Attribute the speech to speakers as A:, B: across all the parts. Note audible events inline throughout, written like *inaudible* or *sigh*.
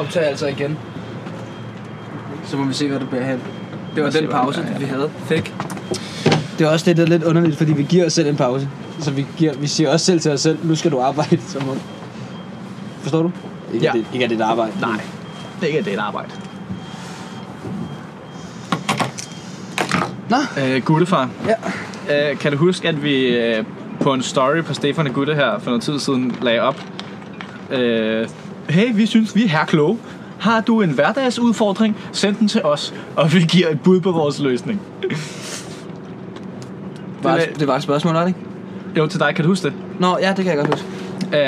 A: optager altså igen. Så må vi se, hvad det bliver hen. Det var
B: se,
A: den
B: hvad det
A: pause,
B: bliver
A: vi havde. Fik.
B: Det er også det, der er lidt underligt, fordi vi giver os selv en pause. Så vi, giver, vi siger også selv til os selv, nu skal du arbejde som om. Forstår du? Ikke,
A: Ja.
B: ja. det, ikke at det er et arbejde.
A: Nej, det er ikke det er et arbejde.
B: Nå.
A: Øh, Guttefar,
B: Ja.
A: øh, kan du huske, at vi øh, på en story på Stefan og Gutte her for noget tid siden lagde op? Øh, hey, vi synes, vi er her kloge. Har du en hverdagsudfordring, send den til os, og vi giver et bud på vores løsning.
B: Var,
A: Det er-
B: det var et spørgsmål, var det ikke?
A: Jo, til dig, kan du huske det?
B: Nå, ja, det kan jeg godt huske.
A: Øh,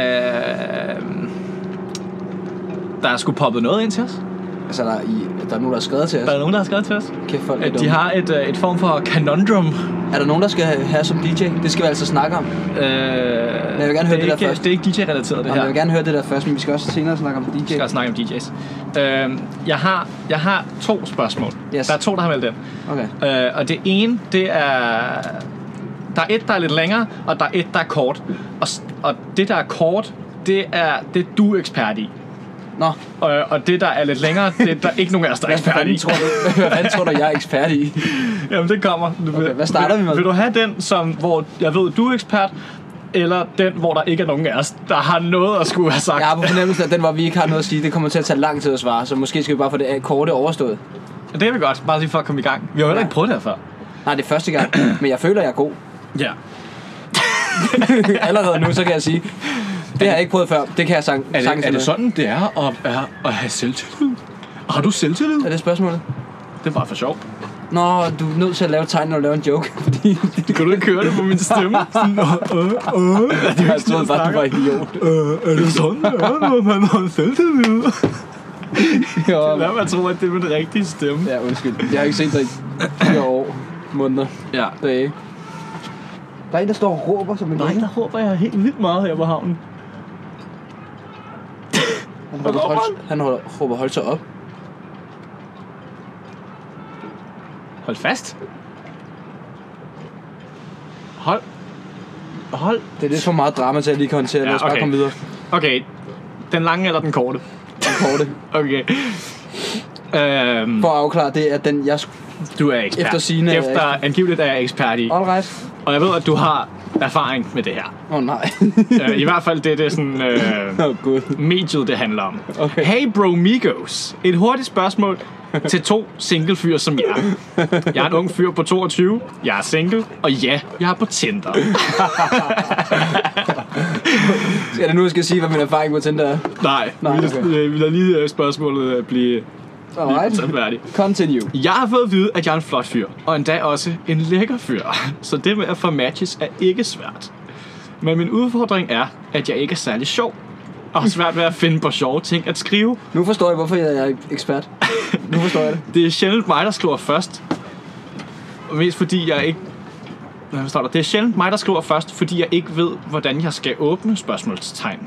A: der er sgu poppet noget ind til os.
B: Altså, der er, i, der er nogen, der har skrevet til os.
A: Der er nogen, der har skrevet til os.
B: Kæft, folk er
A: At de
B: dumme.
A: har et, øh, et form for conundrum.
B: Er der nogen, der skal have, have som DJ? Det skal vi altså snakke om.
A: Øh, jeg
B: vil gerne høre det der
A: ikke,
B: først.
A: Det er ikke DJ-relateret, det
B: Og jeg
A: her.
B: vil gerne høre det der først, men vi skal også senere snakke om
A: Vi
B: DJ.
A: skal også snakke om DJ's. Øh, jeg, har, jeg har to spørgsmål.
B: Yes.
A: Der er to, der har meldt ind.
B: Okay.
A: Øh, og det ene, det er... Der er et, der er lidt længere, og der er et, der er kort. Og, s- og det, der er kort, det er det, er du er ekspert i.
B: Nå,
A: Og, og det, der er lidt længere, det er der ikke nogen af os,
B: *laughs*
A: der er
B: hvad
A: ekspert
B: fanden
A: i.
B: tror du, hvad fanden tror du, jeg er ekspert i?
A: Jamen, det kommer. Du vil-
B: Okay, hvad starter vi med?
A: Vil, vil du have den, som, hvor jeg ved, du er ekspert, eller den, hvor der ikke er nogen af os, der har noget at skulle have sagt?
B: Jeg har på fornemmelsen, at den, hvor vi ikke har noget at sige, det kommer til at tage lang tid at svare, så måske skal vi bare få det af- korte overstået.
A: Det er vi godt, bare lige for at komme i gang. Vi har jo heller
B: Ja.
A: ikke prøvet det her før.
B: Nej, det er første gang, men jeg føler, jeg er god.
A: Ja.
B: Allerede nu, så kan jeg sige, det har jeg ikke prøvet før. Det kan jeg sang,
A: Er det,
B: sagtens
A: er det
B: finde.
A: sådan, det er at, er at have selvtillid? Har du selvtillid?
B: Er det spørgsmålet?
A: Det er bare for sjov.
B: Nå, du er nødt til at lave et tegn, når du laver en joke, fordi
A: Kan du ikke høre det på min stemme? *laughs* Sådan, øh, øh, øh. Det
B: jeg troede bare, du var idiot.
A: Øh, er det sådan, det er, når man har selvtillid? Lad mig tro, at det er min rigtige stemme.
B: Ja, undskyld. Jeg har ikke set dig i fire år, måneder,
A: Ja.
B: dage. Der er en, der står og råber som en
A: Nej,
B: lille.
A: der håber jeg helt vildt meget her på havnen.
B: Han, holder,
A: råber
B: hold, han holder, råber, hold så op.
A: Hold fast. Hold. Hold.
B: Det er lidt for meget drama til, at jeg lige kan håndtere. Lad os bare
A: okay.
B: komme videre.
A: Okay. Den lange eller den korte?
B: Den korte.
A: Okay. Øhm,
B: For at afklare det, at den, jeg... Sk-
A: du er ekspert.
B: Efter sigende er jeg
A: Efter angiveligt er jeg ekspert i.
B: All right.
A: Og jeg ved, at du har erfaring med det her.
B: Åh, oh, nej. *laughs*
A: Øh, I hvert fald det, det er sådan... Øh,
B: Åh, oh, gud.
A: mediet, det handler om.
B: Okay.
A: Hey bro Migos. Et hurtigt spørgsmål til to single fyre som jer. Jeg er en ung fyr på 22, jeg er single, og ja, jeg er på Tinder.
B: Er det nu, jeg skal sige, hvad min erfaring på Tinder er?
A: Nej,
B: Nej,
A: vi,
B: okay.
A: okay. vi lader lige øh, spørgsmålet øh, blive
B: All right.
A: sandværdigt.
B: Continue.
A: Jeg har fået at vide, at jeg er en flot fyr, og endda også en lækker fyr. *laughs* Så det med at få matches er ikke svært. Men min udfordring er, at jeg ikke er særlig sjov. Og har svært ved at finde på sjove ting at skrive,
B: Nu forstår jeg, hvorfor jeg er ekspert. Nu forstår jeg det.
A: Det er sjældent mig, der skriver først. Og mest fordi jeg ikke... Hvad står der? Det er sjældent mig, der skriver først, fordi jeg ikke ved, hvordan jeg skal åbne spørgsmålstegn.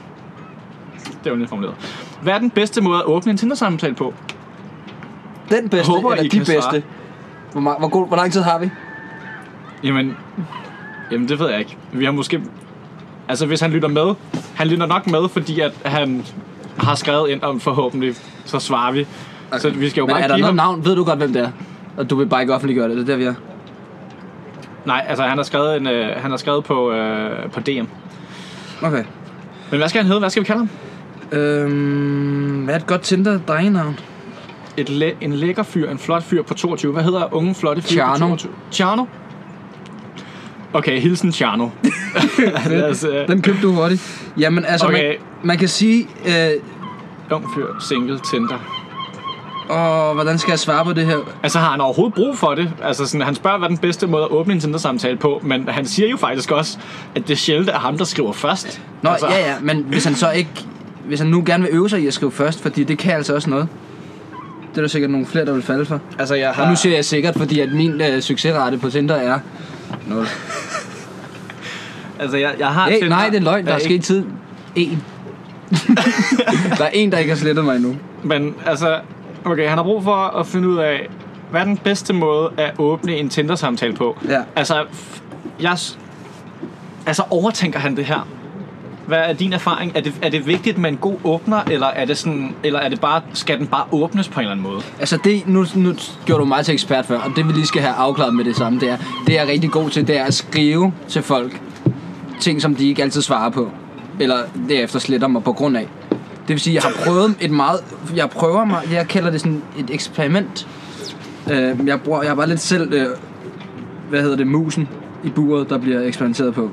A: Det er jo lidt formuleret. Hvad er den bedste måde at åbne en Tinder-samtale på?
B: Den bedste,
A: Håber,
B: eller
A: I
B: de
A: kan svare.
B: bedste. Hvor, meget, hvor, god, hvor lang tid har vi?
A: Jamen, jamen det ved jeg ikke. Vi har måske... Altså, hvis han lytter med... Han lytter nok med, fordi at han har skrevet ind om forhåbentlig, så svarer vi. Okay. Så Altså, vi skal jo
B: Men
A: bare
B: er der
A: give
B: noget
A: ham...
B: navn? Ved du godt, hvem det er? Og du vil bare ikke offentliggøre det, det er der, vi er.
A: Nej, altså han har skrevet, en, øh, han har skrevet på, øh, på DM.
B: Okay.
A: Men hvad skal han hedde? Hvad skal vi kalde ham?
B: Øhm, hvad er et godt Tinder-drengenavn?
A: et læ- en lækker fyr, en flot fyr på 22. Hvad hedder unge flotte fyr på
B: Tjerno.
A: 22? Tjerno. Okay,
B: *laughs*
A: hilsen Tjerno. *laughs* Lad os, øh,
B: Den købte du hurtigt. Jamen, altså,
A: Okay.
B: man, man kan sige... Øh,
A: ung fyr, single, Tinder.
B: åh, hvordan skal jeg svare på det her?
A: Altså har han overhovedet brug for det? Altså sådan, han spørger, hvad den bedste måde at åbne en Tinder-samtale på, men han siger jo faktisk også, at det sjældent er ham, der skriver først.
B: Nå,
A: altså,
B: altså. ja, ja, men hvis han så ikke hvis han nu gerne vil øve sig i at skrive først, fordi det kan altså også noget. Det er der sikkert nogle flere, der vil falde for.
A: Altså, jeg har...
B: Og nu siger jeg sikkert, fordi at min øh, succesrate på Tinder er... Nul.
A: altså, jeg, jeg har Øh,
B: Hey,
A: Tinder.
B: nej, det er løgn. Der
A: Jeg
B: er sket tid. En. der er en, der ikke har slettet mig endnu.
A: Men altså, okay, han har brug for at finde ud af, hvad er den bedste måde at åbne en Tinder-samtale på?
B: Ja.
A: Altså, f- jeg, s- altså, overtænker han det her? Hvad er din erfaring? Er det, er det vigtigt med en god åbner, eller er det sådan, eller er det bare, skal den bare åbnes på en eller anden måde?
B: Altså det, nu, nu gjorde du mig til ekspert før, og det vi lige skal have afklaret med det samme, det er, det jeg er rigtig god til, det er at skrive til folk ting, som de ikke altid svarer på, eller derefter sletter mig på grund af. Det vil sige, jeg har prøvet et meget, jeg prøver mig, jeg kalder det sådan et eksperiment. Øh, jeg, bruger, jeg var lidt selv, øh, hvad hedder det, musen i buret, der bliver eksperimenteret på.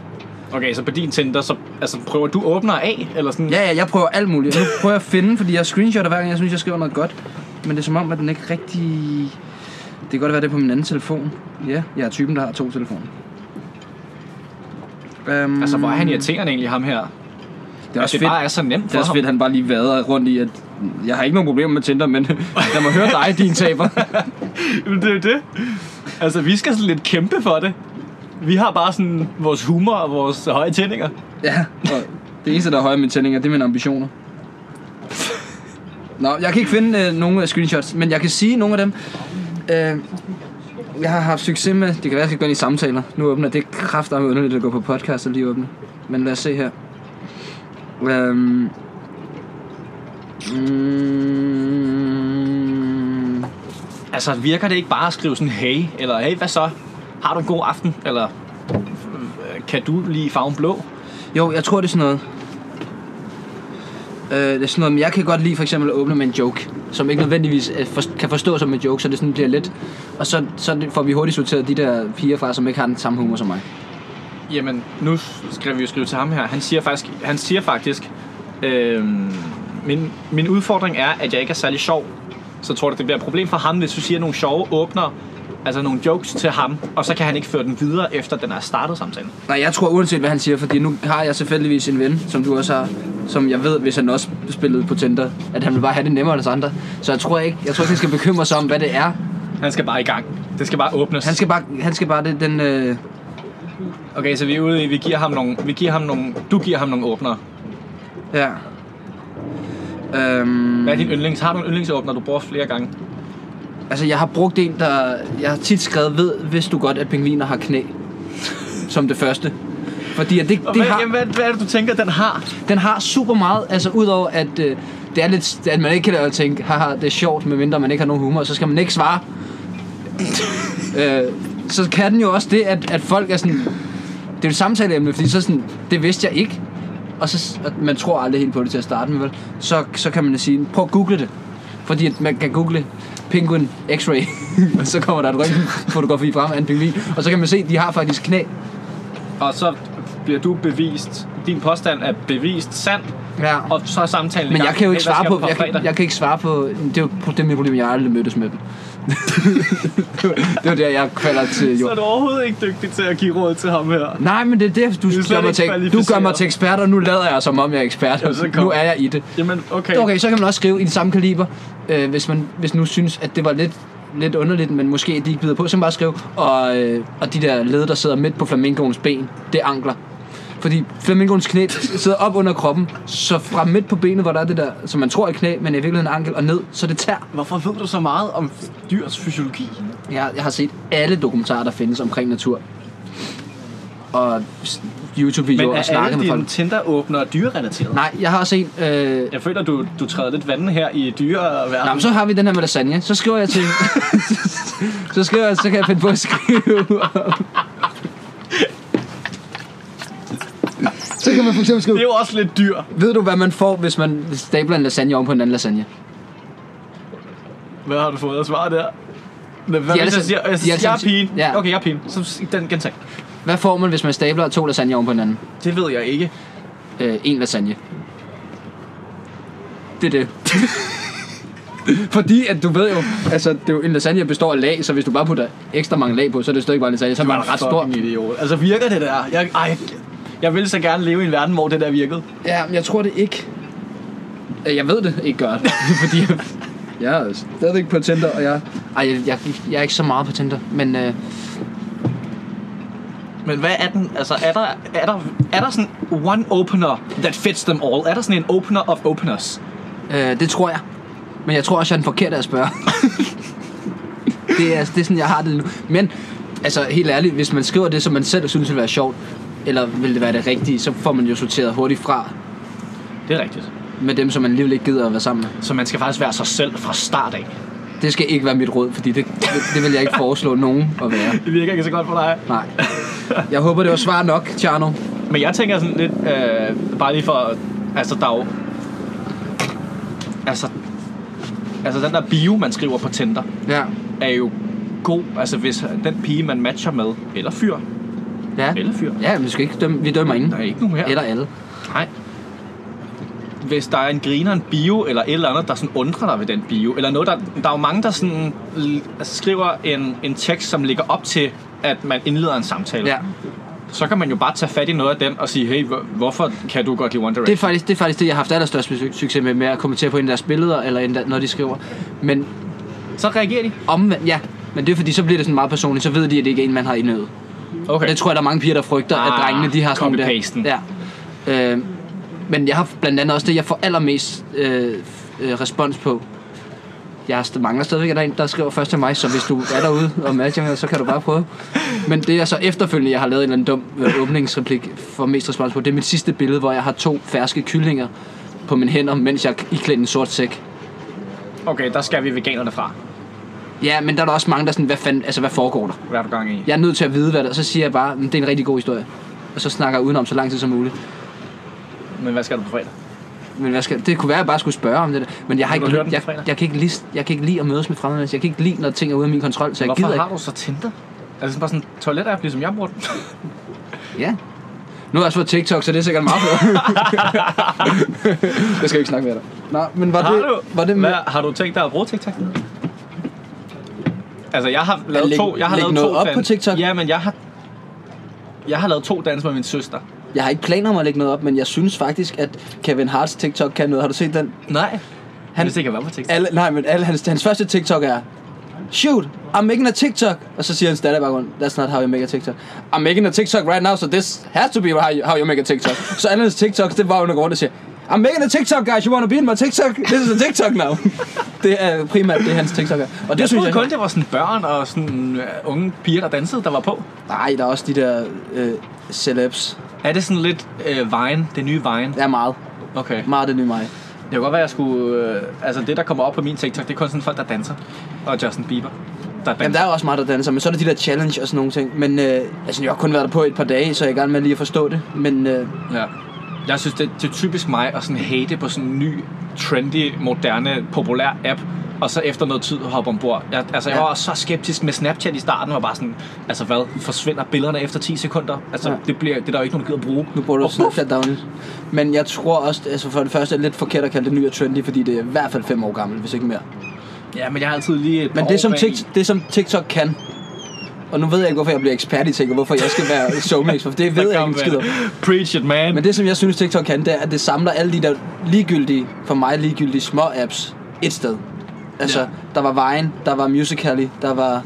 A: Okay, så på din Tinder, så altså, prøver du åbner af, eller sådan?
B: Ja, ja, jeg prøver alt muligt. Og nu prøver jeg at finde, fordi jeg screenshotter hver gang, jeg synes, jeg skriver noget godt. Men det er som om, at den ikke rigtig... Det kan godt være, det er på min anden telefon. Ja, jeg er typen, der har to telefoner. Um,
A: Altså, hvor er han irriterende egentlig, ham her? Det
B: Det er også
A: det bare
B: fedt.
A: er så nemt
B: Det er
A: for
B: også
A: ham.
B: fedt, han bare lige vader rundt i, at jeg har ikke nogen problemer med Tinder, men *laughs* lad mig høre dig, din taber.
A: Jamen, det er jo det. Altså, vi skal sådan lidt kæmpe for det. Vi har bare sådan vores humor og vores høje tændinger.
B: ja, og det eneste, der er højere end mine tændinger, det er mine ambitioner. Nå, jeg kan ikke finde øh, nogen af screenshots, men jeg kan sige nogle af dem. Øh, jeg har haft succes med, det kan være, jeg skal gå ind i samtaler. Nu åbner det kraftigt underligt at gå på podcast og lige åbne. Men lad os se her. Øhm, mm,
A: Altså, virker det ikke bare at skrive sådan, hey, eller hey, hvad så? Har du en god aften? Eller øh, kan du lige farven blå?
B: Jo, jeg tror, det er sådan noget. Øh, det er sådan noget, men jeg kan godt lide for eksempel at åbne med en joke, som ikke nødvendigvis er for, kan forstås som en joke, så det sådan bliver let. Og så, så får vi hurtigt sorteret de der piger fra, som ikke har den samme humor som mig.
A: Jamen, nu skal vi jo skrive til ham her. Han siger faktisk, han siger faktisk øhm, min, min udfordring er, at jeg ikke er særlig sjov. Så tror du, det bliver et problem for ham, hvis du siger nogle sjove åbner, altså nogle jokes til ham, og så kan han ikke føre den videre, efter den er startet samtalen.
B: Nej, jeg tror uanset hvad han siger, fordi nu har jeg selvfølgelig en ven, som du også har, som jeg ved, hvis han også spillede på Tinder, at han vil bare have det nemmere end os andre. Så jeg tror ikke, jeg tror ikke, han skal bekymre sig om, hvad det er.
A: Han skal bare i gang. Det skal bare åbnes.
B: Han skal bare, han skal bare det, den, øh,
A: Okay, så vi er ude i, vi giver ham nogle, vi giver ham nogle, du giver ham nogle åbner.
B: ja. Øhm,
A: Hvad er din yndlings? Har du en yndlingsåbner, du bruger flere gange?
B: Altså, jeg har brugt en, der... Jeg har tit skrevet, ved, hvis du godt, at pingviner har knæ. Som det første. Fordi at det,
A: Og
B: det
A: hvad,
B: har,
A: jamen, hvad, hvad er det, du tænker, den har?
B: den har super meget, altså udover at øh, det er lidt, at man ikke kan lade at tænke, haha, det er sjovt, medmindre man ikke har nogen humor, så skal man ikke svare. øh, så kan den jo også det, at, at folk er sådan, det er jo et samtaleemne, fordi så sådan, det vidste jeg ikke, og så, og man tror aldrig helt på det til at starte med, vel? Så, så kan man sige, prøv at google det, fordi at man kan google penguin x-ray, *laughs* og så kommer der et røntgenfotografi frem af en pingvin, og så kan man se, at de har faktisk knæ.
A: Og så bliver du bevist, din påstand er bevist sand,
B: Ja.
A: og så er samtalen i
B: Men
A: gang.
B: jeg kan jo ikke
A: Hey, hvad
B: svare
A: sker
B: på,
A: der
B: jeg, kan-
A: fredag?
B: jeg kan ikke svare på, det er jo det er mit problem, jeg har aldrig mødtes med dem. *laughs* det var der, jeg falder til
A: Så er
B: jord.
A: du overhovedet ikke dygtig til at give råd til ham her.
B: Nej, men det er det, du,
A: er slet
B: gør mig,
A: ikke
B: til, du gør mig
A: kvalificeret.
B: til ekspert, og nu lader jeg, som om jeg er ekspert.
A: Jamen, så kom.
B: nu er jeg i det.
A: Jamen, okay.
B: Okay, så kan man også skrive i den samme kaliber, øh, hvis man hvis nu synes, at det var lidt lidt underligt, men måske de ikke bider på, så kan man bare skrive, og, øh, og de der led, der sidder midt på flamingoens ben, det er ankler. Fordi flamingoens knæ sidder op under kroppen, så fra midt på benet, hvor der er det der, som man tror er knæ, men er i virkeligheden ankel, og ned, så er det tær.
A: Hvorfor ved du så meget om dyrs fysiologi?
B: Jeg, jeg har set alle dokumentarer, der findes omkring natur. Og s-
A: Men
B: YouTube-videoer og
A: er alle
B: snakket med folk.
A: dine Tinder-åbner dyrerelateret?
B: Nej, jeg har også en... Øh,
A: Jeg føler, du, du træder lidt vandet her i dyreverdenen.
B: Nå, men så har vi den her med lasagne. Så skriver jeg til... *laughs* så skriver jeg, så kan jeg finde på at skrive om.
C: Så kan man for eksempel skrive,
A: Det er jo også lidt dyr.
B: Ved du, hvad man får, hvis man stabler en lasagne oven på en anden lasagne?
A: Hvad har du fået at svare der? Hvad
B: De er
A: hvis
B: altså-
A: jeg siger, jeg,
B: de er
A: siger,
B: altså-
A: jeg er pigen.
B: ja.
A: Okay, jeg er pigen. Så s- den gentag.
B: Hvad får man, hvis man stabler to lasagne oven på hinanden?
A: Det ved jeg ikke.
B: Øh, en lasagne. Det *laughs* er det. Fordi at du ved jo, altså det er jo, en lasagne består af lag, så hvis du bare putter ekstra mange lag på, så er det stadig bare en lasagne, så er det bare en ret stor.
A: Fucking idiot. Altså virker det der? Jeg, ej, jeg ville så gerne leve i en verden, hvor det der virkede.
B: Ja, men jeg tror det ikke. Øh, Jeg ved det ikke gør det, *laughs* fordi jeg- jeg er stadig ikke på Tinder, og jeg... Ej, jeg, jeg, jeg er ikke så meget på Tinder, men øh,
A: Men hvad er den? Altså, er der, er der, er der sådan one opener that fits them all? Er der sådan en opener of openers?
B: øh, det tror jeg. Men jeg tror også, jeg er den forkerte at spørge. *laughs* det, er, det er sådan, jeg har det nu. Men, altså helt ærligt, hvis man skriver det, som man selv synes vil være sjovt, eller vil det være det rigtige, så får man jo sorteret hurtigt fra
A: Det er rigtigt.
B: med dem, som man alligevel ikke gider at være sammen med.
A: Så man skal faktisk være sig selv fra start af.
B: Det skal ikke være mit råd, fordi det, det, det vil jeg ikke foreslå nogen at være.
A: Det virker ikke så godt for dig.
B: Nej. Jeg håber, det var svar nok, Tjerno.
A: Men jeg tænker sådan lidt, øh, bare lige for, altså der er jo, altså, altså den der bio, man skriver på Tinder,
B: Ja.
A: er jo god, altså hvis den pige, man matcher med, eller fyr,
B: Ja.
A: eller fyr,
B: Ja, men vi skal ikke dømme. Vi dømmer ingen.
A: der er ikke nogen her.
B: Eller alle.
A: Nej. Hvis der er en griner, en bio eller et eller andet, der sådan undrer dig ved den bio, eller noget, der, der er jo mange, der sådan l- altså skriver en, en tekst, som ligger op til, at man indleder en samtale.
B: Ja.
A: Så kan man jo bare tage fat i noget af den og sige, hey, hvor- hvorfor kan du godt lide One
B: Det
A: Direction?
B: er, faktisk, det er faktisk det, jeg har haft allerstørst suc- succes med, med at kommentere på en af deres billeder, eller en der, når de skriver. Men
A: Så reagerer de.
B: omvendt, ja. Men det er fordi, så bliver det sådan meget personligt. Så ved de, at det ikke er en, man har indøvet.
A: Okay.
B: Og det tror jeg, der er mange piger, der frygter, ah, at
A: Ah,
B: drengene de har sådan nogle
A: copy-pasten.
B: der. Ja. Øh, men jeg har blandt andet også det, jeg får allermest øh, øh, respons på. Jeg har st- mangler stadigvæk, at der er en, der skriver først til mig, så hvis du er derude og matcher med, så kan du bare prøve. Men det er så efterfølgende, jeg har lavet en eller anden dum øh, åbningsreplik for mest respons på. Det er mit sidste billede, hvor jeg har to ferske kyllinger på mine hænder, mens jeg er iklædt en sort sæk.
A: Okay, der skal vi veganerne fra.
B: Ja, men der er der også mange, der sådan, hvad fanden, altså hvad foregår der?
A: Hvad er du gang i?
B: jeg er nødt til at vide, hvad der Og så siger jeg bare, "Men det er en rigtig god historie. Og så snakker jeg udenom så lang tid som muligt.
A: Men hvad skal du på fredag?
B: Men hvad skal, det kunne være, at jeg bare skulle spørge om det der. Men jeg, har
A: Vil
B: ikke,
A: du høre den på
B: jeg,
A: fredag?
B: jeg, kan ikke lide, jeg kan ikke lide at mødes med fremmede mennesker. Jeg kan ikke lide, når ting er ude af min kontrol, så jeg
A: Hvorfor
B: gider
A: har du så Tinder? Altså bare sådan en toilet-app, ligesom jeg bruger den.
B: ikke. Ja. Nu har jeg også fået TikTok, så det er sikkert meget bedre. *laughs* jeg skal ikke snakke med dig. Nej, men var
A: Har
B: det,
A: du?
B: var det med,
A: Hvad, har du tænkt dig at bruge TikTok? Altså, jeg har lavet
B: lægge-
A: to... Jeg har
B: lægge
A: lavet
B: noget
A: to
B: op
A: dans.
B: på TikTok?
A: Ja, men jeg har... Jeg har lavet to dans med min søster.
B: Jeg har ikke planer om at lægge noget op, men jeg synes faktisk, at Kevin Harts TikTok kan noget. Har du set den?
A: Nej. Han
B: Han-
A: vidste ikke, at jeg var på TikTok.
B: Alle, nej, men alle, hans, hans første TikTok er Shoot, I'm making a TikTok Og så siger hans datter i baggrunden That's not how you make a TikTok I'm making a TikTok right now So this has to be how you, how you make a TikTok Så alle hans TikToks, det var jo noget rundt og siger I'm making a TikTok, guys. You wanna be in my TikTok? This is a TikTok now. *laughs* det er primært det, hans TikTok er. Og det
A: Jeg
B: synes
A: troede
B: jeg...
A: kun, det var sådan børn og sådan øh, unge piger, der dansede, der var på.
B: Nej, der er også de der øh, celebs.
A: Er det sådan lidt øh, vejen, det nye vejen?
B: Der er meget.
A: Okay.
B: Meget det nye mig.
A: Det kan godt være, jeg skulle... Øh, altså, det, der kommer op på min TikTok, det er kun sådan folk, der danser. Og Justin Bieber, der danser.
B: Jamen, der er jo også meget, der danser, men så er der de der challenge og sådan nogle ting. Men øh, altså, jeg har kun været der på et par dage, så jeg er i gang med lige at forstå det. Men øh,
A: Ja. Jeg synes, det, det er typisk mig at sådan hate på sådan en ny, trendy, moderne, populær app, og så efter noget tid hoppe ombord. Jeg, altså, jeg
B: Ja.
A: var også så skeptisk med Snapchat i starten, og bare sådan, altså hvad, forsvinder billederne efter 10 sekunder? Altså,
B: Ja.
A: ja. det, bliver, det er der jo ikke nogen, der gider at bruge.
B: Nu bruger du
A: Og puff,
B: Snapchat dagligt. Men jeg tror også, altså for det første er det lidt forkert at kalde det ny og trendy, fordi det er i hvert fald fem år gammelt, hvis ikke mere.
A: Ja, men jeg har altid lige et par
B: Men det
A: år
B: som,
A: bag i.
B: TikTok, det, som TikTok kan, og nu ved jeg ikke, hvorfor jeg bliver ekspert i ting, og hvorfor jeg skal
A: *laughs*
B: være showmix, for det
A: Der
B: ved jeg ikke
A: kom,
B: en skid om.
A: øh, Preach it, man.
B: Men det, som jeg synes, TikTok kan, det er, at det samler alle de der ligegyldige, for mig ligegyldige små apps et sted. Altså,
A: Ja.
B: ja. der var Vine, der var Musical.ly, der var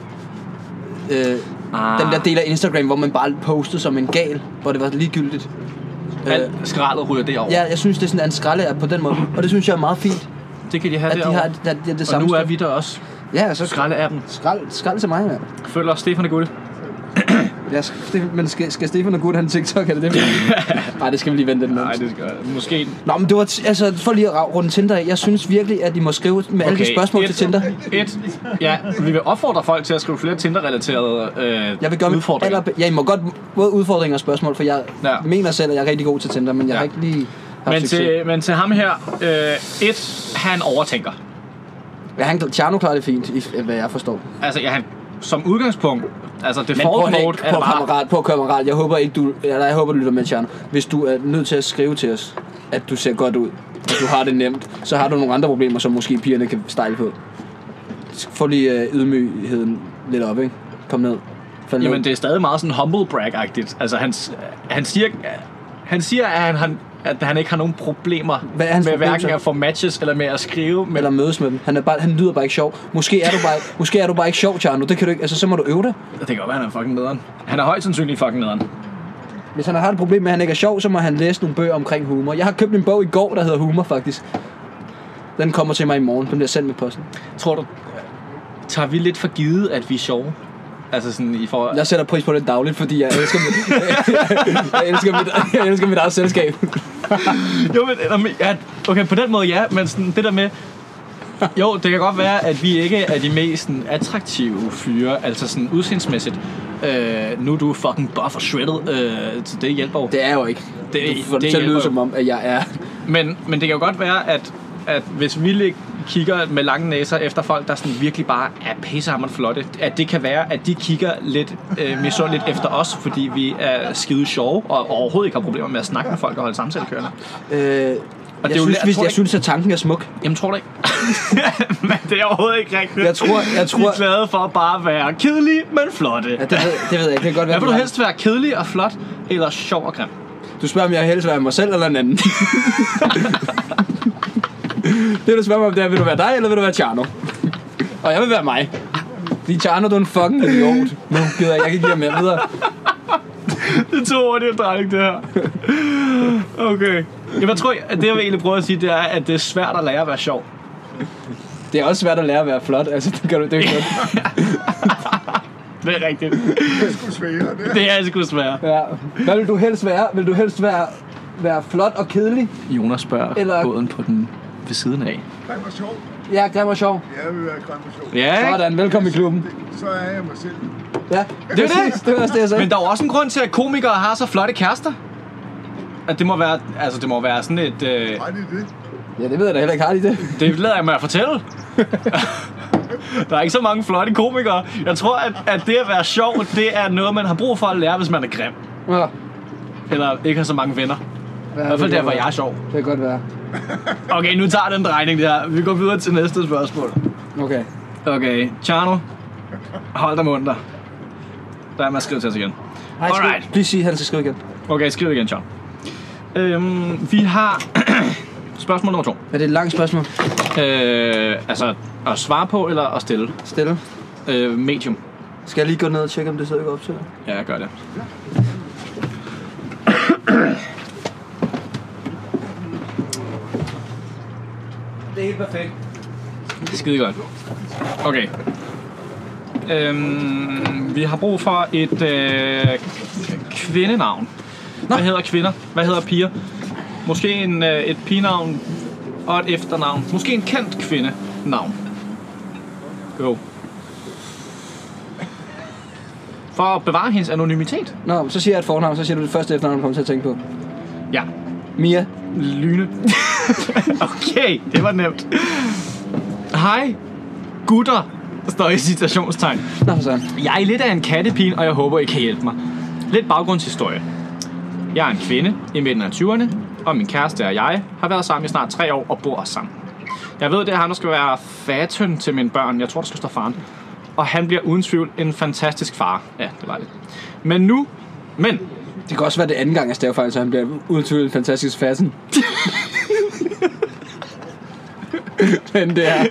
B: øh,
A: Ah.
B: den der del af Instagram, hvor man bare postede som en gal, hvor det var ligegyldigt. Øh,
A: Alt skraldet ryger derover.
B: Ja, jeg synes, det er sådan en skralle app på den måde. Og det synes jeg er meget fint,
A: Det kan de have
B: at de
A: derovre.
B: har det, det, det, det
A: og
B: samme.
A: nu er
B: sted.
A: vi der også.
B: Ja, så skrald,
A: Skralde-appen.
B: skrald, skrald til mig, mand.
A: Følger også Stefan er guld.
B: Ja, Ste- men skal, skal Stefan og Gud have en TikTok,
A: *laughs*
B: er det det? Nej, det skal vi lige vente den
A: Nej, det skal Måske
B: Nå, men det var, t- altså, for lige at ra- runde Tinder af, jeg synes virkelig, at I må skrive med alle de spørgsmål
A: et,
B: til Tinder.
A: Et, ja, vi vil opfordre folk til at skrive flere Tinder-relaterede øh,
B: Jeg vil gøre mit
A: udfordringer.
B: aller... Ja, I må godt både udfordringer og spørgsmål, for jeg
A: Ja.
B: ja. mener selv, at jeg er rigtig god til Tinder, men jeg
A: Ja.
B: har ikke lige haft
A: men,
B: succes. Til...
A: til, men til ham her, øh, et, han overtænker.
B: Ja, han, Tjerno klarer det fint, i, hvad jeg forstår.
A: Altså, ja, han, som udgangspunkt, altså det
B: Men prøv
A: forrige
B: at
A: mode
B: lægge
A: er
B: på
A: bare,
B: kammerat, på kammerat. Jeg håber ikke, du, eller jeg håber, du lytter med, Tjerno. Hvis du er nødt til at skrive til os, at du ser godt ud, og du har det nemt, så har du nogle andre problemer, som måske pigerne kan stejle på. Få lige øh, ydmygheden lidt op, ikke? Kom ned. Fald ned.
A: jamen det er stadig meget sådan humble brag-agtigt. Altså, han, s- han siger, han siger, at han, han at han ikke har nogen problemer
B: Hvad er hans
A: med
B: problem
A: hverken
B: så?
A: at få matches eller med at skrive. Men
B: eller mødes med dem. Han, er bare, han lyder bare ikke sjov. Måske er du bare, måske er du bare ikke sjov, Tjerno. Det kan du ikke. Altså, så må du øve dig.
A: det kan godt være, han er fucking nederen. Han er højst sandsynligt fucking nederen.
B: Hvis han har et problem med, at han ikke er sjov, så må han læse nogle bøger omkring humor. Jeg har købt en bog i går, der hedder Humor, faktisk. Den kommer til mig i morgen. Den bliver sendt med posten.
A: Tror du, tager vi lidt for givet, at vi er sjove? Altså sådan i forhold...
B: Jeg sætter pris på det dagligt, fordi jeg elsker mit, *laughs* jeg elsker mit, jeg elsker mit eget selskab.
A: Jo, men, eller, men- ja, okay, på den måde ja, men sådan, det der med... Jo, det kan godt være, at vi ikke er de mest sådan, attraktive fyre, altså sådan udseendsmæssigt. Øh, nu er du fucking buff og shredded, øh, så det hjælper jo.
B: Det er jeg jo ikke.
A: Det-
B: Du får det,
A: det
B: til at
A: hjælper
B: lyde
A: jo.
B: som om, at jeg er... øh,
A: Men, men det kan jo godt være, at, at hvis vi lig- kigger med lange næser efter folk, der sådan virkelig bare er pissehammerende flotte, at det kan være, at de kigger lidt øh, misundeligt efter os, fordi vi er skide sjove og overhovedet ikke har problemer med at snakke med folk og holde samtale kørende.
B: Øh, jeg,
A: er jo-
B: synes,
A: jeg
B: jeg, hvis,
A: tror
B: jeg
A: ikke-
B: synes, at tanken er smuk.
A: Jamen, tror du ikke? *laughs* men det er overhovedet ikke rigtigt.
B: Jeg tror- jeg
A: De
B: tror-
A: er glade for bare at være kedelige, men flotte.
B: Ja, det, ved, det ved jeg ikke. Det kan godt være,
A: Hvad vil du
B: har-
A: helst være? Kedelig og flot, eller sjov og grim?
B: Du spørger, om jeg helst vil være mig selv eller en anden. *laughs* det, du spørger mig om, det er, vil du være dig, eller vil du være Tjerno? Og jeg vil være mig. Fordi Tjerno, du er en fucking idiot. Nu gider jeg, jeg kan ikke lide mere videre.
A: Det tog over det drejning, det her. Okay. Jamen, jeg tror, at det, jeg vil egentlig prøve at sige, det er, at det er svært at lære at være sjov.
B: Det er også svært at lære at være flot. Altså, det kan du det er jo ikke godt.
A: Det er rigtigt.
D: sværere, det er.
A: Det er sgu svært.
B: Ja. Hvad vil du helst være? Vil du helst være, være flot og kedelig?
A: Jonas spørger
B: Eller-
A: båden på den ved siden af.
D: Grim og sjov.
B: Ja, grim og sjov.
D: Jeg vil være grim og sjov.
A: Ja, ikke?
B: Sådan, velkommen i klubben.
D: Så er jeg mig selv.
B: Ja,
A: Det er det.
B: det var også det, jeg sagde.
A: Men der er jo også en grund til, at komikere har så flotte kærester. At det må være, altså det må være sådan et... Øh,
D: Ret i det.
B: Ja, det ved jeg da heller ikke, har de det?
A: Det lader jeg mig at fortælle. *laughs* Der er ikke så mange flotte komikere. Jeg tror, at, at det at være sjov, det er noget, man har brug for at lære, hvis man er grim.
B: Ja,
A: Eller ikke har så mange venner. I hvert fald derfor, jeg er sjov.
B: Det kan godt være.
A: Okay, nu tager den drejning der. Vi går videre til næste spørgsmål.
B: Okay.
A: Okay, Tjerno. Hold dig munter. Der er man skrive til os igen.
B: Hej, skriv-
A: Alright.
B: Please sig, han skal skrive igen.
A: Okay, skriv igen, Tjerno. Øhm, vi har *clears throat* spørgsmål nummer to.
B: Er det et langt spørgsmål?
A: Øh, altså at svare på eller at stille.
B: Stille.
A: Øh, medium.
B: Skal jeg lige gå ned og tjekke, om det stadig går op til?
A: Ja, jeg gør det.
B: Det er helt perfekt.
A: Skide godt. Okay. Øhm, vi har brug for et øh, kvindenavn. Hvad hedder kvinder? Hvad hedder piger? Måske en, øh, et pigenavn og et efternavn. Måske en kendt kvindenavn. Go. For at bevare hendes anonymitet.
B: Nå, men så siger jeg et fornavn, så siger du det første efternavn, du kommer til at tænke på.
A: Ja.
B: Mia.
A: Lyne. *laughs* okay, det var nemt. Hej, gutter, står i citationstegn.
B: Nå, for sådan.
A: Jeg er lidt af en kattepin, og jeg håber, I kan hjælpe mig. Lidt baggrundshistorie. Jeg er en kvinde i midten af 20'erne, og min kæreste og jeg har været sammen i snart tre år og bor også sammen. Jeg ved, det er ham, der skal være fatøn til mine børn. Jeg tror, der skal stå faren. Og han bliver uden tvivl en fantastisk far. Ja, det var det. Men nu... Men...
B: Det kan også være det anden gang, jeg staver fejl, så han bliver udtrykt en fantastisk *laughs* fassen. men det er...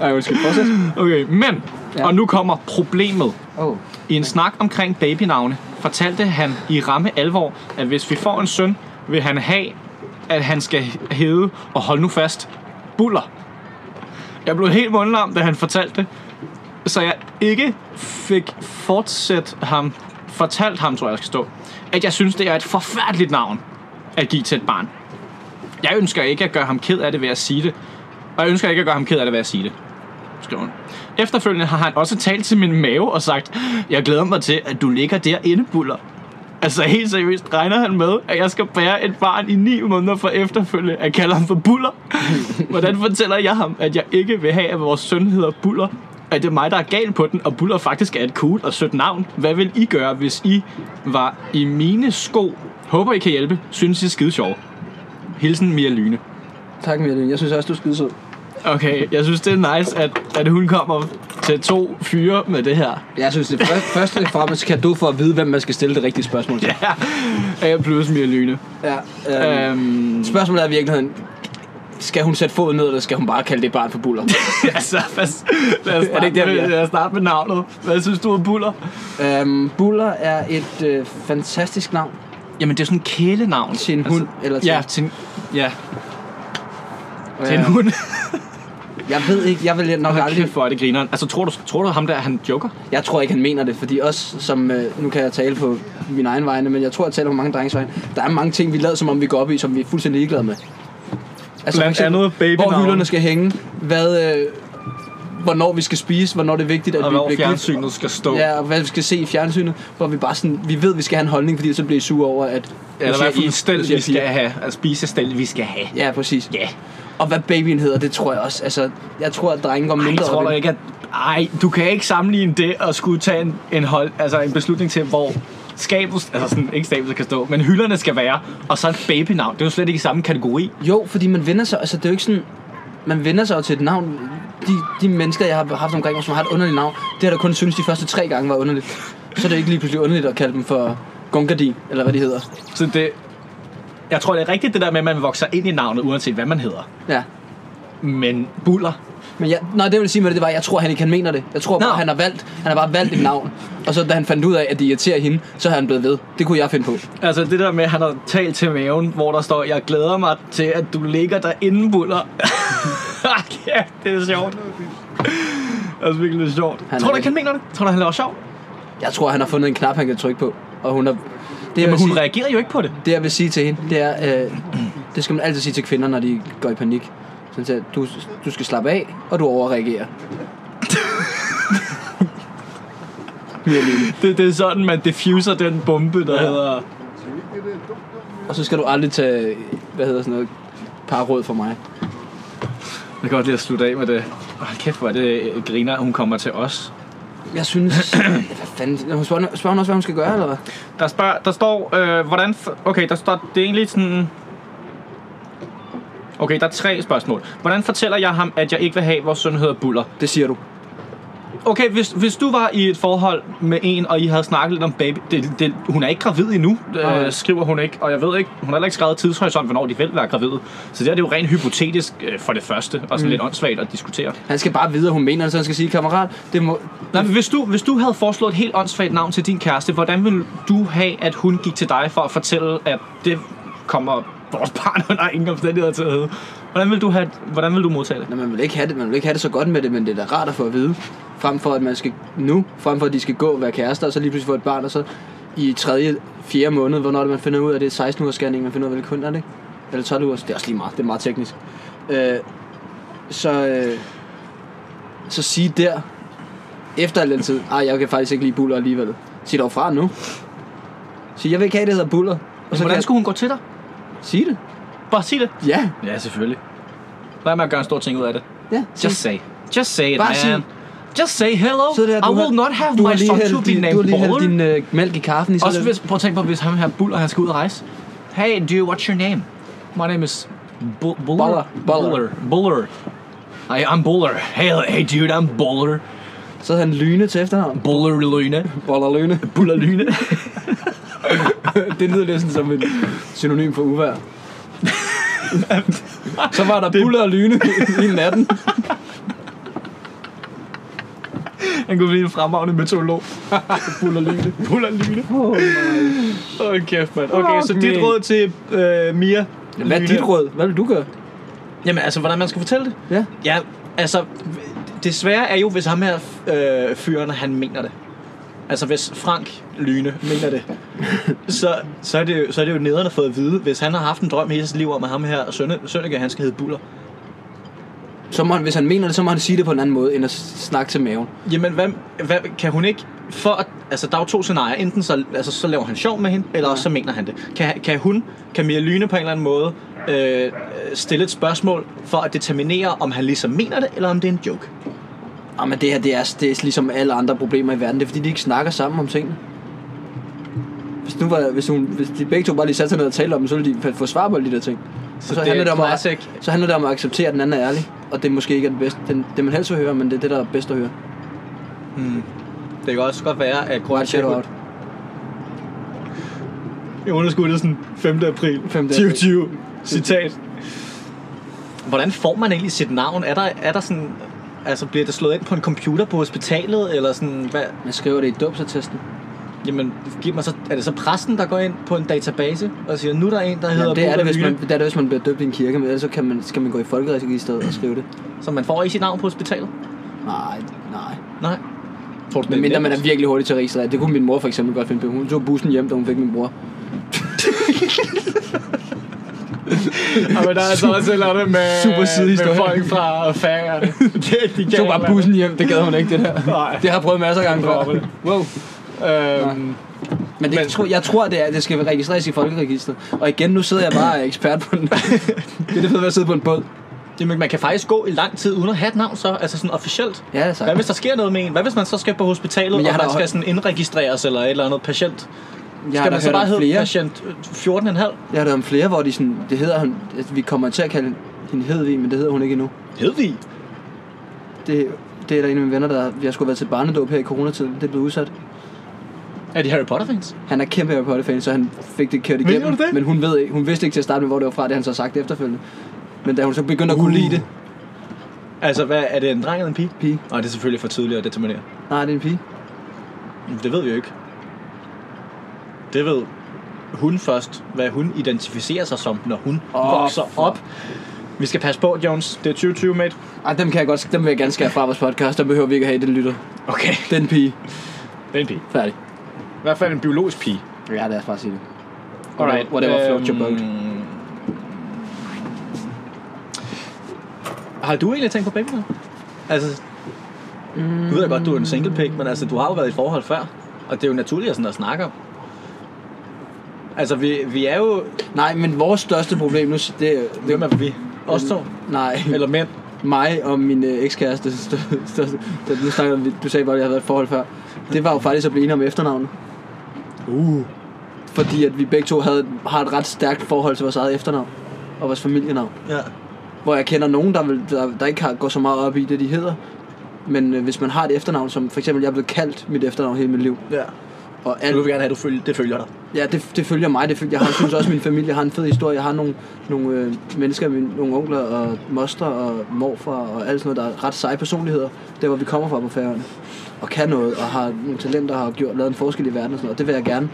B: Ej, undskyld, fortsæt.
A: Okay, men...
B: Ja.
A: Og nu kommer problemet.
B: Åh, oh,
A: I en snak omkring babynavne fortalte han i ramme alvor, at hvis vi får en søn, vil han have, at han skal hedde, og hold nu fast, Buller. Jeg blev helt mundlam, da han fortalte det, så jeg ikke fik fortsat ham, fortalt ham, tror jeg, jeg skal stå, at jeg synes, det er et forfærdeligt navn at give til et barn. Jeg ønsker ikke at gøre ham ked af det ved at sige det, og jeg ønsker ikke at gøre ham ked af det ved at sige det skrev hun. Efterfølgende har han også talt til min mave og sagt, jeg glæder mig til, at du ligger derinde, buller. Altså helt seriøst regner han med, at jeg skal bære et barn i 9 måneder for efterfølgende at kalde ham for buller. Hvordan fortæller jeg ham, at jeg ikke vil have, at vores søn hedder buller? At det er mig, der er gal på den, og buller faktisk er et cool og sødt navn. Hvad vil I gøre, hvis I var i mine sko? Håber, I kan hjælpe. Synes, I er skide sjov. Hilsen Mia Lyne.
B: tak, Mia Lyne. Jeg synes også, du er skidesød.
A: Okay, jeg synes, det er nice, at, at hun kommer til to fyre med det her.
B: Jeg synes, det første, første og fremmest kan du for at vide, hvem man skal stille det rigtige spørgsmål til.
A: Ja, plus mere lyne.
B: Ja. ja øhm,
A: Øhm,
B: spørgsmålet er i virkeligheden, skal hun sætte foden ned, eller skal hun bare kalde det barn for buller?
A: *laughs* *laughs* altså, lad os,
B: Er
A: lad os,
B: det
A: starte,
B: ikke der, vi
A: med,
B: er?
A: lad os starte med navnet. Hvad synes du om Buller?
B: øhm, buller er et øh, fantastisk navn
A: Jamen, det er sådan et kælenavn. Altså,
B: til en hund. eller til,
A: Ja, til en, ja,
B: øh,
A: til en hund.
B: Øhm, Jeg ved ikke, jeg vil nok
A: Hold
B: aldrig
A: kæft, hvor er *laughs* det grineren. Altså, tror du, tror du ham der, han joker?
B: Jeg tror ikke, han mener det, fordi også som, øh, nu kan jeg tale på min egen vegne, men jeg tror, jeg taler på mange drenges vegne, der er mange ting, vi lader, som om vi går op i, som vi er fuldstændig ligeglade med. Altså,
A: Blandt andet babynavn.
B: Hvor hylderne skal hænge, hvad, øh, hvornår vi skal spise, hvornår det er vigtigt, at
A: Og
B: vi
A: hvor
B: bliver gift.
A: fjernsynet skal stå.
B: Ja, og hvad vi skal se i fjernsynet, hvor vi bare sådan, vi ved, vi skal have en holdning, fordi så bliver I sure over, at...
A: Eller
B: nu
A: hvad
B: siger
A: for
B: I-
A: en
B: nu
A: stel,
B: siger
A: vi skal
B: piger.
A: have. Altså, spisestel, vi skal have.
B: Ja, præcis.
A: Ja.
B: Og hvad babyen hedder, det tror jeg også. Altså, jeg tror, at drenge går mindre
A: Ej, tror
B: op
A: du
B: i-
A: ikke, at... Ej, du kan ikke sammenligne det og skulle tage en, en, hold, altså en beslutning til, hvor skabet, altså sådan, ikke skabet kan stå, men hylderne skal være, og så et babynavn. Det er jo slet ikke i samme kategori.
B: Jo, fordi man vender sig, altså det er jo ikke sådan, man vender sig jo til et navn. De, de mennesker, jeg har haft omkring mig, som har et underligt navn, det har jeg da kun synes de første tre gange var underligt. Så er det jo ikke lige pludselig underligt at kalde dem for Gungadi, eller hvad de hedder.
A: Så det, jeg tror, det er rigtigt det der med, at man vokser ind i navnet, uanset hvad man hedder.
B: Ja.
A: Men buller.
B: Men jeg, nej, det vil sige med det, det var, jeg tror, han ikke han mener det. Jeg tror bare,
A: Nå.
B: han har valgt, han har bare valgt et navn. Og så da han fandt ud af, at det irriterer hende, så har han blevet ved. Det kunne jeg finde på.
A: Altså det der med, at han har talt til maven, hvor der står, jeg glæder mig til, at du ligger derinde, buller. *laughs* ja, det er sjovt. Det er virkelig lidt sjovt.
B: er
A: tror du ikke,
B: rigtig-
A: han mener det? Tror du, han laver sjov?
B: Jeg tror, han har fundet en knap, han kan trykke på. Og hun har... Det, jeg
A: Jamen,
B: vil
A: hun
B: sige,
A: reagerer jo ikke på det.
B: det, jeg vil sige til hende, det er, øh, *clears throat* det skal man altid sige til kvinder, når de går i panik. Sådan siger, du, du skal slappe af, og du overreagerer. *laughs*
A: Det, det er sådan, man diffuser den bombe, der ja. hedder...
B: Og så skal du aldrig tage, hvad hedder sådan noget, parråd for mig.
A: Jeg kan godt lige at slutte af med det. Hold kæft, hvor er det øh, griner, hun kommer til os.
B: Jeg synes, *clears throat* hvad fanden, hun spørger, spørger hun også, hvad hun skal gøre, eller hvad?
A: Der, spørg, der står, øh, hvordan... f- Okay, der står, det er egentlig sådan... Okay, der er tre spørgsmål. Hvordan fortæller jeg ham, at jeg ikke vil have, at vores søn hedder Buller?
B: Det siger du.
A: Okay, hvis, hvis du var i et forhold med en, og I havde snakket lidt om baby... Det, det, hun er ikke gravid endnu,
B: Nej.
A: øh, skriver hun ikke. Og jeg ved ikke, hun har heller ikke skrevet tidshorisont, hvornår de vil være gravide. Så det her det er jo rent hypotetisk øh, for det første, og sådan mm. lidt åndssvagt at diskutere.
B: Han skal bare vide, at hun mener det, så han skal sige, kammerat, det må...
A: Nej, men hvis du, hvis du havde foreslået et helt åndssvagt navn til din kæreste, hvordan ville du have, at hun gik til dig for at fortælle, at det kommer vores barn *laughs* under ingen omstændigheder til at hedde? Hvordan vil du, have, hvordan vil du modtage det?
B: Nå, man vil ikke have det, man vil ikke have det så godt med det, men det er da rart at få at vide. Frem for, at man skal nu, frem for, at de skal gå og være kærester, og så lige pludselig få et barn, og så i tredje, fjerde måned, hvornår er det, man finder ud af, det er 16 ugers scanning, man finder ud af, hvilken køn er det, ikke? Eller 12 ugers, det er også lige meget, det er meget teknisk. Øh, så, øh, så sige der, efter al den tid, ej, jeg kan faktisk ikke lide buller alligevel. Sig dog fra nu. Sig, jeg vil ikke have, det hedder buller. Og så kan
A: hvordan
B: jeg
A: skulle hun gå til dig?
B: sige det.
A: Bare sig det.
B: Ja,
A: Ja, selvfølgelig. Lad mig at gøre en stor ting ud af det.
B: ja. sig-
A: Just say. Just say it,
B: Bare
A: man.
B: sig-
A: Just say hello.
B: Så der,
A: I will not have my son to be
B: Du har
A: named
B: lige hældt
A: Ball.
B: din øh, mælk i kaffen i
A: Også
B: sådan
A: hvis, prøv at tænke på, hvis ham her Buller, han skal ud og rejse. Hey, dude, what's your name? My name is Bu- Buller.
B: Buller. Buller.
A: Buller. Buller. I, I'm Buller. Hey, hey, dude, I'm Buller.
B: Så havde han lyne til efternavn.
A: Buller Lyne.
B: *laughs* Boller lyne.
A: Buller Lyne.
B: det lyder næsten som et synonym for *laughs* uvær. så var der buller og lyne i natten.
A: han kunne blive en fremragende meteorolog.
B: *laughs*
A: Buller Lyne. Buller Lyne. Åh, oh, kæft, mand. Okay, så
B: Fuck
A: dit
B: me.
A: råd til øh, Mia.
B: Hvad er
A: Lyne.
B: dit råd? Hvad vil du gøre?
A: Jamen, altså, hvordan man skal fortælle det?
B: Ja.
A: Ja, altså, det svære er jo, hvis ham her øh, fyren, han mener det. Altså, hvis Frank Lyne mener *laughs* det, så, så, er, det jo, så er det jo nederen at få at vide, hvis han har haft en drøm hele sit liv om, at ham her Sønne, Sønneke, han skal hedde Buller.
B: Så må han, hvis han mener det, så må han sige det på en anden måde, end at snakke til maven.
A: Jamen, hvad, hvad, kan hun ikke... For, at- altså, der er jo to scenarier. Enten så, altså, så laver han sjov med hende, eller også så mener han det. Kan, kan hun, kan Mia Lyne på en eller anden måde øh, øh, stille et spørgsmål for at determinere, om han ligesom mener det, eller om det er en joke?
B: Ah, men det her, det er, det er ligesom alle andre problemer i verden. Det er fordi, de ikke snakker sammen om tingene. Hvis, nu var, hvis, hun, hvis de begge to bare lige satte sig ned og talte om dem, så ville de få svar på alle de der ting. Så, så,
A: det
B: handler
A: er
B: det om
A: classic.
B: at, så handler det om at acceptere, at den anden er ærlig. Og det måske ikke er den bedste, den, det man helst vil høre, men det er det, der er bedst at høre.
A: Det kan også godt være, at grunden
B: Right
A: til,
B: shout
A: at
B: out.
E: Jeg underskudte sådan 5. april
B: 5. april.
E: 2020. Citat.
A: Hvordan får man egentlig sit navn? Er der, er der sådan... Altså, bliver det slået ind på en computer på hospitalet, eller sådan, hvad?
B: Man skriver det i dubsattesten.
A: Jamen, giver man så, er det så præsten, der går ind på en database og siger, nu er der en, der hedder
B: Jamen, det, er det,
A: Bob
B: hvis man,
A: Lykke,
B: det er det, hvis man bliver døbt i en kirke, men ellers så kan man, skal man gå i folkeregisteret og skrive det.
A: Så man får ikke sit navn på hospitalet?
B: Nej, nej.
A: Nej. Tror du,
B: Men mindre man er
A: nemt?
B: virkelig hurtig til at registrere. Det kunne min mor for eksempel godt finde på. Hun tog bussen hjem, da hun fik min bror.
E: Og men der er så også et eller andet med,
B: Super sidehistorie.
E: med folk fra færgerne.
B: *laughs*
E: det, de
B: Jeg tog bare bussen hjem, det gad hun ikke, det der.
E: Nej.
B: Det har jeg prøvet masser af gange før.
E: Dropper det.
B: Wow.
E: Øhm,
B: Men, det,
E: Men-
B: jeg, tror, jeg tror, det, er, det skal registreres i folkeregisteret. Og igen, nu sidder jeg bare
E: *laughs*
B: og er ekspert på den. *laughs* det er det fede ved at sidde på en båd.
A: Jamen, man kan faktisk gå i lang tid uden at have et navn, så, altså sådan officielt.
B: Ja, så.
A: Hvad hvis der sker noget med en? Hvad hvis man så skal på hospitalet,
B: Men
A: og
B: jeg
A: man
B: har da
A: skal
B: hørt-
A: sådan indregistreres eller et eller andet patient?
B: jeg har
A: skal
B: da
A: man så
B: hørt
A: bare
B: om
A: hedde
B: flere.
A: patient øh, 14,5?
B: Jeg har hørt om flere, hvor de sådan, det hedder hun, at vi kommer til at kalde hende Hedvig, men det hedder hun ikke endnu.
A: Hedvig?
B: Det, det er der en af mine venner, der jeg skulle have været til barnedåb her i coronatiden. Det er blevet udsat.
A: Er de Harry Potter-fans?
B: Han er kæmpe Harry Potter-fan, så han fik det kørt
E: Mener
B: igennem.
E: du det?
B: Men hun, ved, ikke- hun vidste ikke til at starte med, hvor det var fra, det har han så har sagt efterfølgende. Men da hun så begyndte at
E: Uh.
B: kunne lide det,
A: Altså, hvad, er det en dreng eller en pige?
B: Pige.
A: Nej, det er selvfølgelig for tidligt at determinere.
B: nej, det er en pige.
A: Det ved vi jo ikke. Det ved hun først, hvad hun identificerer sig som, når hun oh, vokser op. Vi skal passe på, Jones. Det er 2020, mate.
B: Ej, dem, kan jeg godt, dem vil jeg gerne skære fra vores podcast. Dem behøver vi ikke at have, den lytter.
E: okay.
B: Den pige.
E: Det er en pige.
B: Færdig.
E: I hvert fald en biologisk pige.
B: Ja, lad os bare sige det.
E: Alright.
B: Whatever øhm, floats your boat.
A: Har du egentlig tænkt på begge noget? Altså, mm. du ved jeg godt, du er en single pick, men altså, du har jo været i et forhold før. Og det er jo naturligt sådan at snakke om. Altså, vi, vi er jo...
B: Nej, men vores største problem nu, det er...
A: Hvem er vi? Os to?
B: Nej,
A: Eller mænd?
B: mig og min øh, ekskæreste *laughs* største, største, nu snakker vi, du sagde bare, at jeg havde været i et forhold før. Det var jo faktisk at blive enige om efternavnet.
A: Uh.
B: Fordi at vi begge to havde, har et ret stærkt forhold til vores eget efternavn og vores familienavn.
A: Ja.
B: Hvor jeg kender nogen, der, vil, der, der ikke har, går så meget op i det, de hedder. Men øh, hvis man har et efternavn, som for eksempel, jeg er blevet kaldt mit efternavn hele mit liv.
A: ja.
B: Og
A: Du
B: alt,
A: vil gerne have, at du følger, det følger dig.
B: Ja, det, det følger mig. Det følger, jeg har, synes også, at min familie har en fed historie. Jeg har nogle, nogle øh, mennesker, mine, nogle onkler og moster og morfar og alt sådan noget, der er ret seje personligheder. Der, hvor vi kommer fra på færgerne. Og kan noget, og har nogle talenter, og har gjort, lavet en forskel i verden og sådan noget. Og det vil jeg gerne.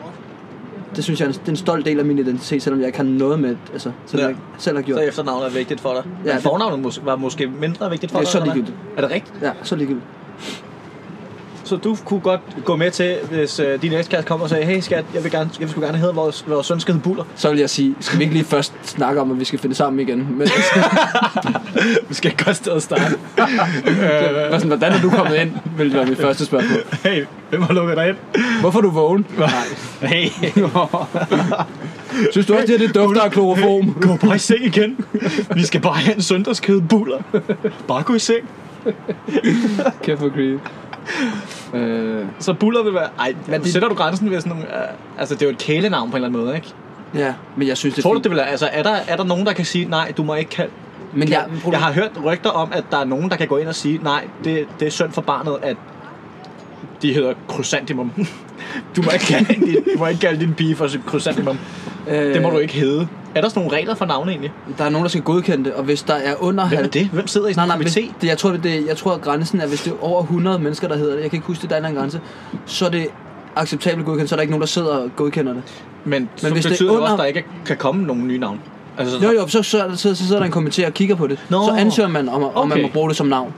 B: Det synes jeg er en, det er en stolt del af min identitet, selvom jeg ikke har noget med, altså, selvom
A: Ja.
B: ja. jeg selv har gjort.
A: Så efternavnet er vigtigt for dig. Ja,
B: Ja,
A: Men
B: det-
A: fornavnet mås- var måske mindre vigtigt for
B: Det
A: dig?
B: er så
A: eller hvad?
B: ligegyldigt.
A: Er det rigtigt?
B: Ja, så ligegyldigt.
A: Så du kunne godt gå med til, hvis øh, din ekskæreste kom og sagde, hey skat, jeg vil, gerne, jeg vil sgu gerne hedde vores, vores søn skal hedde Buller. *laughs*
B: Så vil jeg sige, skal vi ikke lige først snakke om, at vi skal finde sammen igen?
A: *laughs*
B: Men,
A: Vi skal et godt sted at starte.
B: øh, sådan, hvordan er du kommet ind, vil være mit første spørgsmål.
E: Hey, hvem har lukket dig ind?
B: Hvorfor er du vågen? Nej.
E: Hey,
A: *laughs*
B: Synes du også, det her det dufter af kloroform?
E: gå bare i seng igen. Vi skal bare have en søndagskæde buller. Bare gå i seng.
B: Kæft for creepy. Øh,
A: så Buller vil være... Ej, men
B: Men det-
A: sætter du grænsen ved sådan nogle... Øh, altså, det er jo et kælenavn på en eller anden måde, ikke?
B: ja, men jeg synes, det er
A: Tror du,
B: fint.
A: det vil være... Altså, er der, er der nogen, der kan sige, nej, du må ikke kalde...
B: Men jeg,
A: Jeg har hørt rygter om, at der er nogen, der kan gå ind og sige, nej, det, det er synd for barnet, at de hedder krysantimum. *laughs* Du må ikke kalde din, du må ikke kalde din pige for krysantimum.
B: øh,
A: Det må du ikke hedde. Er der sådan nogle regler for navne egentlig?
B: Der er nogen, der skal godkende det, og hvis der er under...
A: Hvem er det? Hvem sidder i
B: Nej,
A: sådan
B: nej,
A: en
B: hvis,
A: komité?
B: det, jeg, tror, det, det, jeg tror, at grænsen er, hvis det er over 100 mennesker, der hedder det, jeg kan ikke huske, det der er en eller anden grænse, så er det acceptabelt godkendt, så er der ikke nogen, der sidder og godkender det.
A: Men, men så
B: hvis
A: hvis
B: det er
A: betyder det også,
B: under-
A: at der ikke kan komme nogen nye navn. Altså,
B: Jo, jo, så, så, så, så sidder der en komité og kigger på det.
A: Nå.
B: Så ansøger man, om, om man
A: Okay.
B: må bruge det som navn.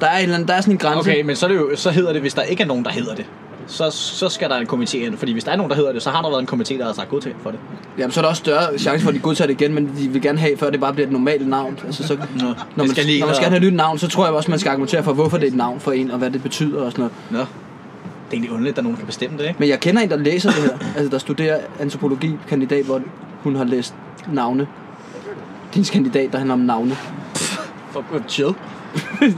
B: Der er, en eller anden, der er sådan en grænse.
A: Okay, men så, er det jo, så hedder det, hvis der ikke er nogen, der hedder det. Så, så skal der en komité ind, fordi hvis der er nogen, der hedder det, så har der været en komité, der har sagt god til for det.
B: Jamen, så er der også større chance for, at de godtager det igen, men de vil gerne have, før det bare bliver et normalt navn. Altså, så, når, man,
A: skal
B: skal
A: lige
B: når man
A: være-
B: skal have et nyt navn, så tror jeg også, man skal argumentere for, hvorfor det er et navn for en, og hvad det betyder og sådan noget.
A: Nå. Det er egentlig underligt, at der er nogen, der kan bestemme det, ikke?
B: Men jeg kender en, der læser det her, altså der studerer antropologi, kandidat, hvor hun har læst navne. Din kandidat, der handler om
A: *laughs*
B: navne.
A: For chill.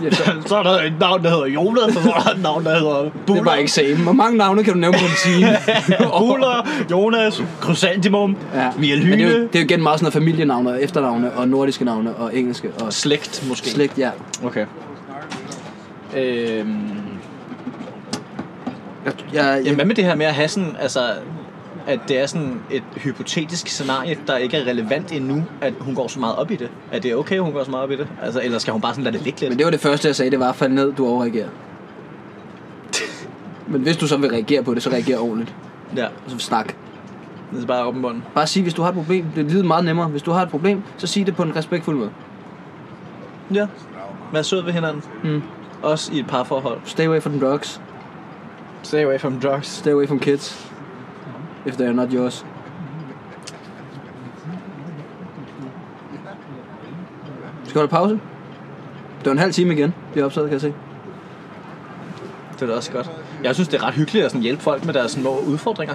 B: ja, så,
A: så er der et navn, der hedder Jonas, og så er der et navn, der hedder
B: det er
A: Buller.
B: bare eksamen. Hvor mange navne kan du nævne på en time?
A: Buller, Jonas, Chrysanthemum, *laughs* ja.
B: Men det er, jo,
A: Vialyne.
B: det er jo igen meget sådan noget familienavne og efternavne og nordiske navne og engelske og
A: Slægt, måske.
B: slægt, ja.
A: Okay. Øhm,
B: Jeg, jeg,
A: Jamen,
B: jeg,
A: hvad med det her med at have sådan, altså, at det er sådan et hypotetisk scenarie, der ikke er relevant endnu, at hun går så meget op i det? Er det okay, hun går så meget op i det? Altså, eller skal hun bare sådan lade det ligge lidt?
B: men det var det første, jeg sagde, det var, fald ned, du
A: *laughs*
B: overreagerer. Men hvis du så vil reagere på det, så reager ordentligt.
A: Ja,
B: Og så snak.
A: det er bare åben bunden.
B: Bare sig, hvis du har et problem. Det lyder meget nemmere. Hvis du har et problem, så sig det på en respektfuld måde.
A: Ja, vær sød ved hinanden.
B: Mm.
A: Også i et parforhold.
B: Stay away from drugs.
A: Stay away from drugs.
B: Stay away from kids. If they are not yours. Skal vi holde pause? Det var en halv time igen, vi har optaget, kan jeg se.
A: Det er da også godt. Jeg synes, det er ret hyggeligt at sådan hjælpe folk med deres små udfordringer.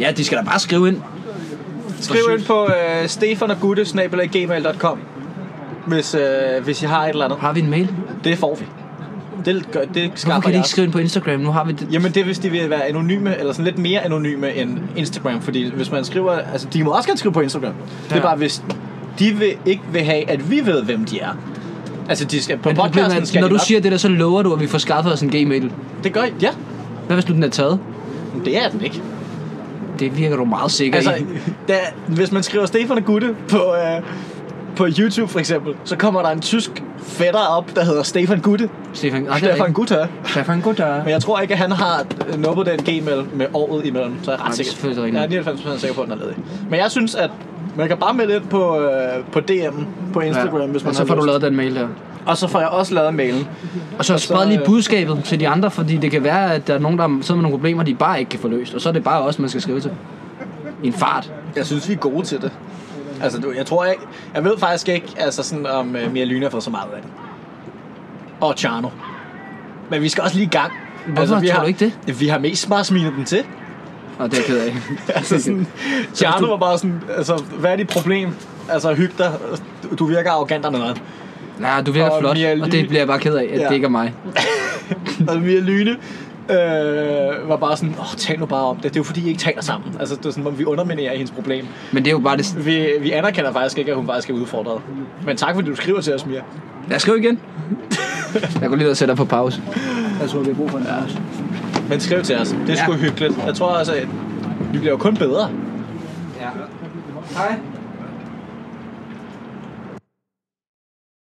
B: Ja, de skal da bare skrive ind.
A: Skriv ind på øh, stefanergutte.gmail.com hvis, øh, hvis I har et eller andet.
B: Har vi en mail?
A: Det får vi. Det, gør, det
B: Hvorfor kan
A: skaffer
B: de
A: jeg.
B: ikke skrive ind på Instagram? Nu har vi det.
A: Jamen det er, hvis de vil være anonyme, eller sådan lidt mere anonyme end Instagram, fordi hvis man skriver, altså de må også gerne skrive på Instagram. Ja. Det
B: Ja.
A: er bare, hvis de vil, ikke vil have, at vi ved, hvem de er. Altså de skal, på
B: Men problemet er,
A: podcasten
B: at
A: skal
B: når
A: de
B: du
A: nok-
B: siger det der, så lover du, at vi får skaffet os en gmail.
A: Det gør ja,
B: Hvad hvis nu den er taget?
A: men det er den ikke.
B: Det virker du meget sikker
A: Altså,
B: i.
A: der, hvis man skriver Stefan og Gutte på, øh, på YouTube for eksempel, så kommer der en tysk fætter op, der hedder Stefan Gutte.
B: Stefan, nej, det er
A: Stefan
B: rigtigt.
A: Gutte.
B: Stefan, goddag.
A: Men jeg tror ikke, at han har øh, nubbet den gmail med året imellem, så jeg er
B: Nej,
A: ret
B: det er
A: sikker.
B: selvfølgelig
A: Jeg er
B: rigtigt.
A: 99% sikker på, at den er ledig. Men jeg synes, at man kan bare melde ind på, øh, på DM på Instagram, ja. hvis man
B: og så
A: har
B: får
A: lyst.
B: du lavet den mail der.
A: Og så får jeg også lavet mailen.
B: Og så,
A: så,
B: spred lige
A: øh,
B: budskabet til de andre, fordi det kan være, at der er nogen, der sidder med nogle problemer, de bare ikke kan få løst. Og så er det bare os, man skal skrive til. I en fart.
A: Jeg synes, vi er gode til det. Altså, du, jeg tror ikke... Jeg ved faktisk ikke, altså sådan, om øh, Mia Lyne har fået så meget ud af det. Og Charno. Men vi skal også lige i gang. Hvorfor
B: tror
A: har,
B: du ikke
A: det? Vi har mest bare smilet dem til.
B: Og det er jeg
A: *laughs*
B: ked af.
A: altså sådan, Tjerno var bare sådan, altså, hvad er dit problem? Altså, hyg dig. Du- Du virker arrogant eller noget.
B: Nej, du virker
A: Og
B: flot,
A: Mia
B: og
A: Lyne-
B: det bliver jeg bare ked af, at
A: Ja.
B: det ikke er mig.
A: Og Mia Lyne øh, var bare sådan, åh, tal nu bare om det. Det er jo fordi, I ikke taler sammen. Altså, det er sådan, om vi underminerer hendes problem.
B: Men det er jo bare det...
A: Vi, vi anerkender faktisk ikke, at hun faktisk er udfordret. Men tak, fordi du skriver til os, Mia.
B: Lad os skrive
A: *laughs*
B: igen. jeg går lige ned og sætter på pause. Jeg tror, vi har brug for en pause.
A: Men skriv til os. Det er sgu
B: Ja.
A: hyggeligt. Jeg tror også, at vi bliver jo kun bedre.
B: Ja. Hej.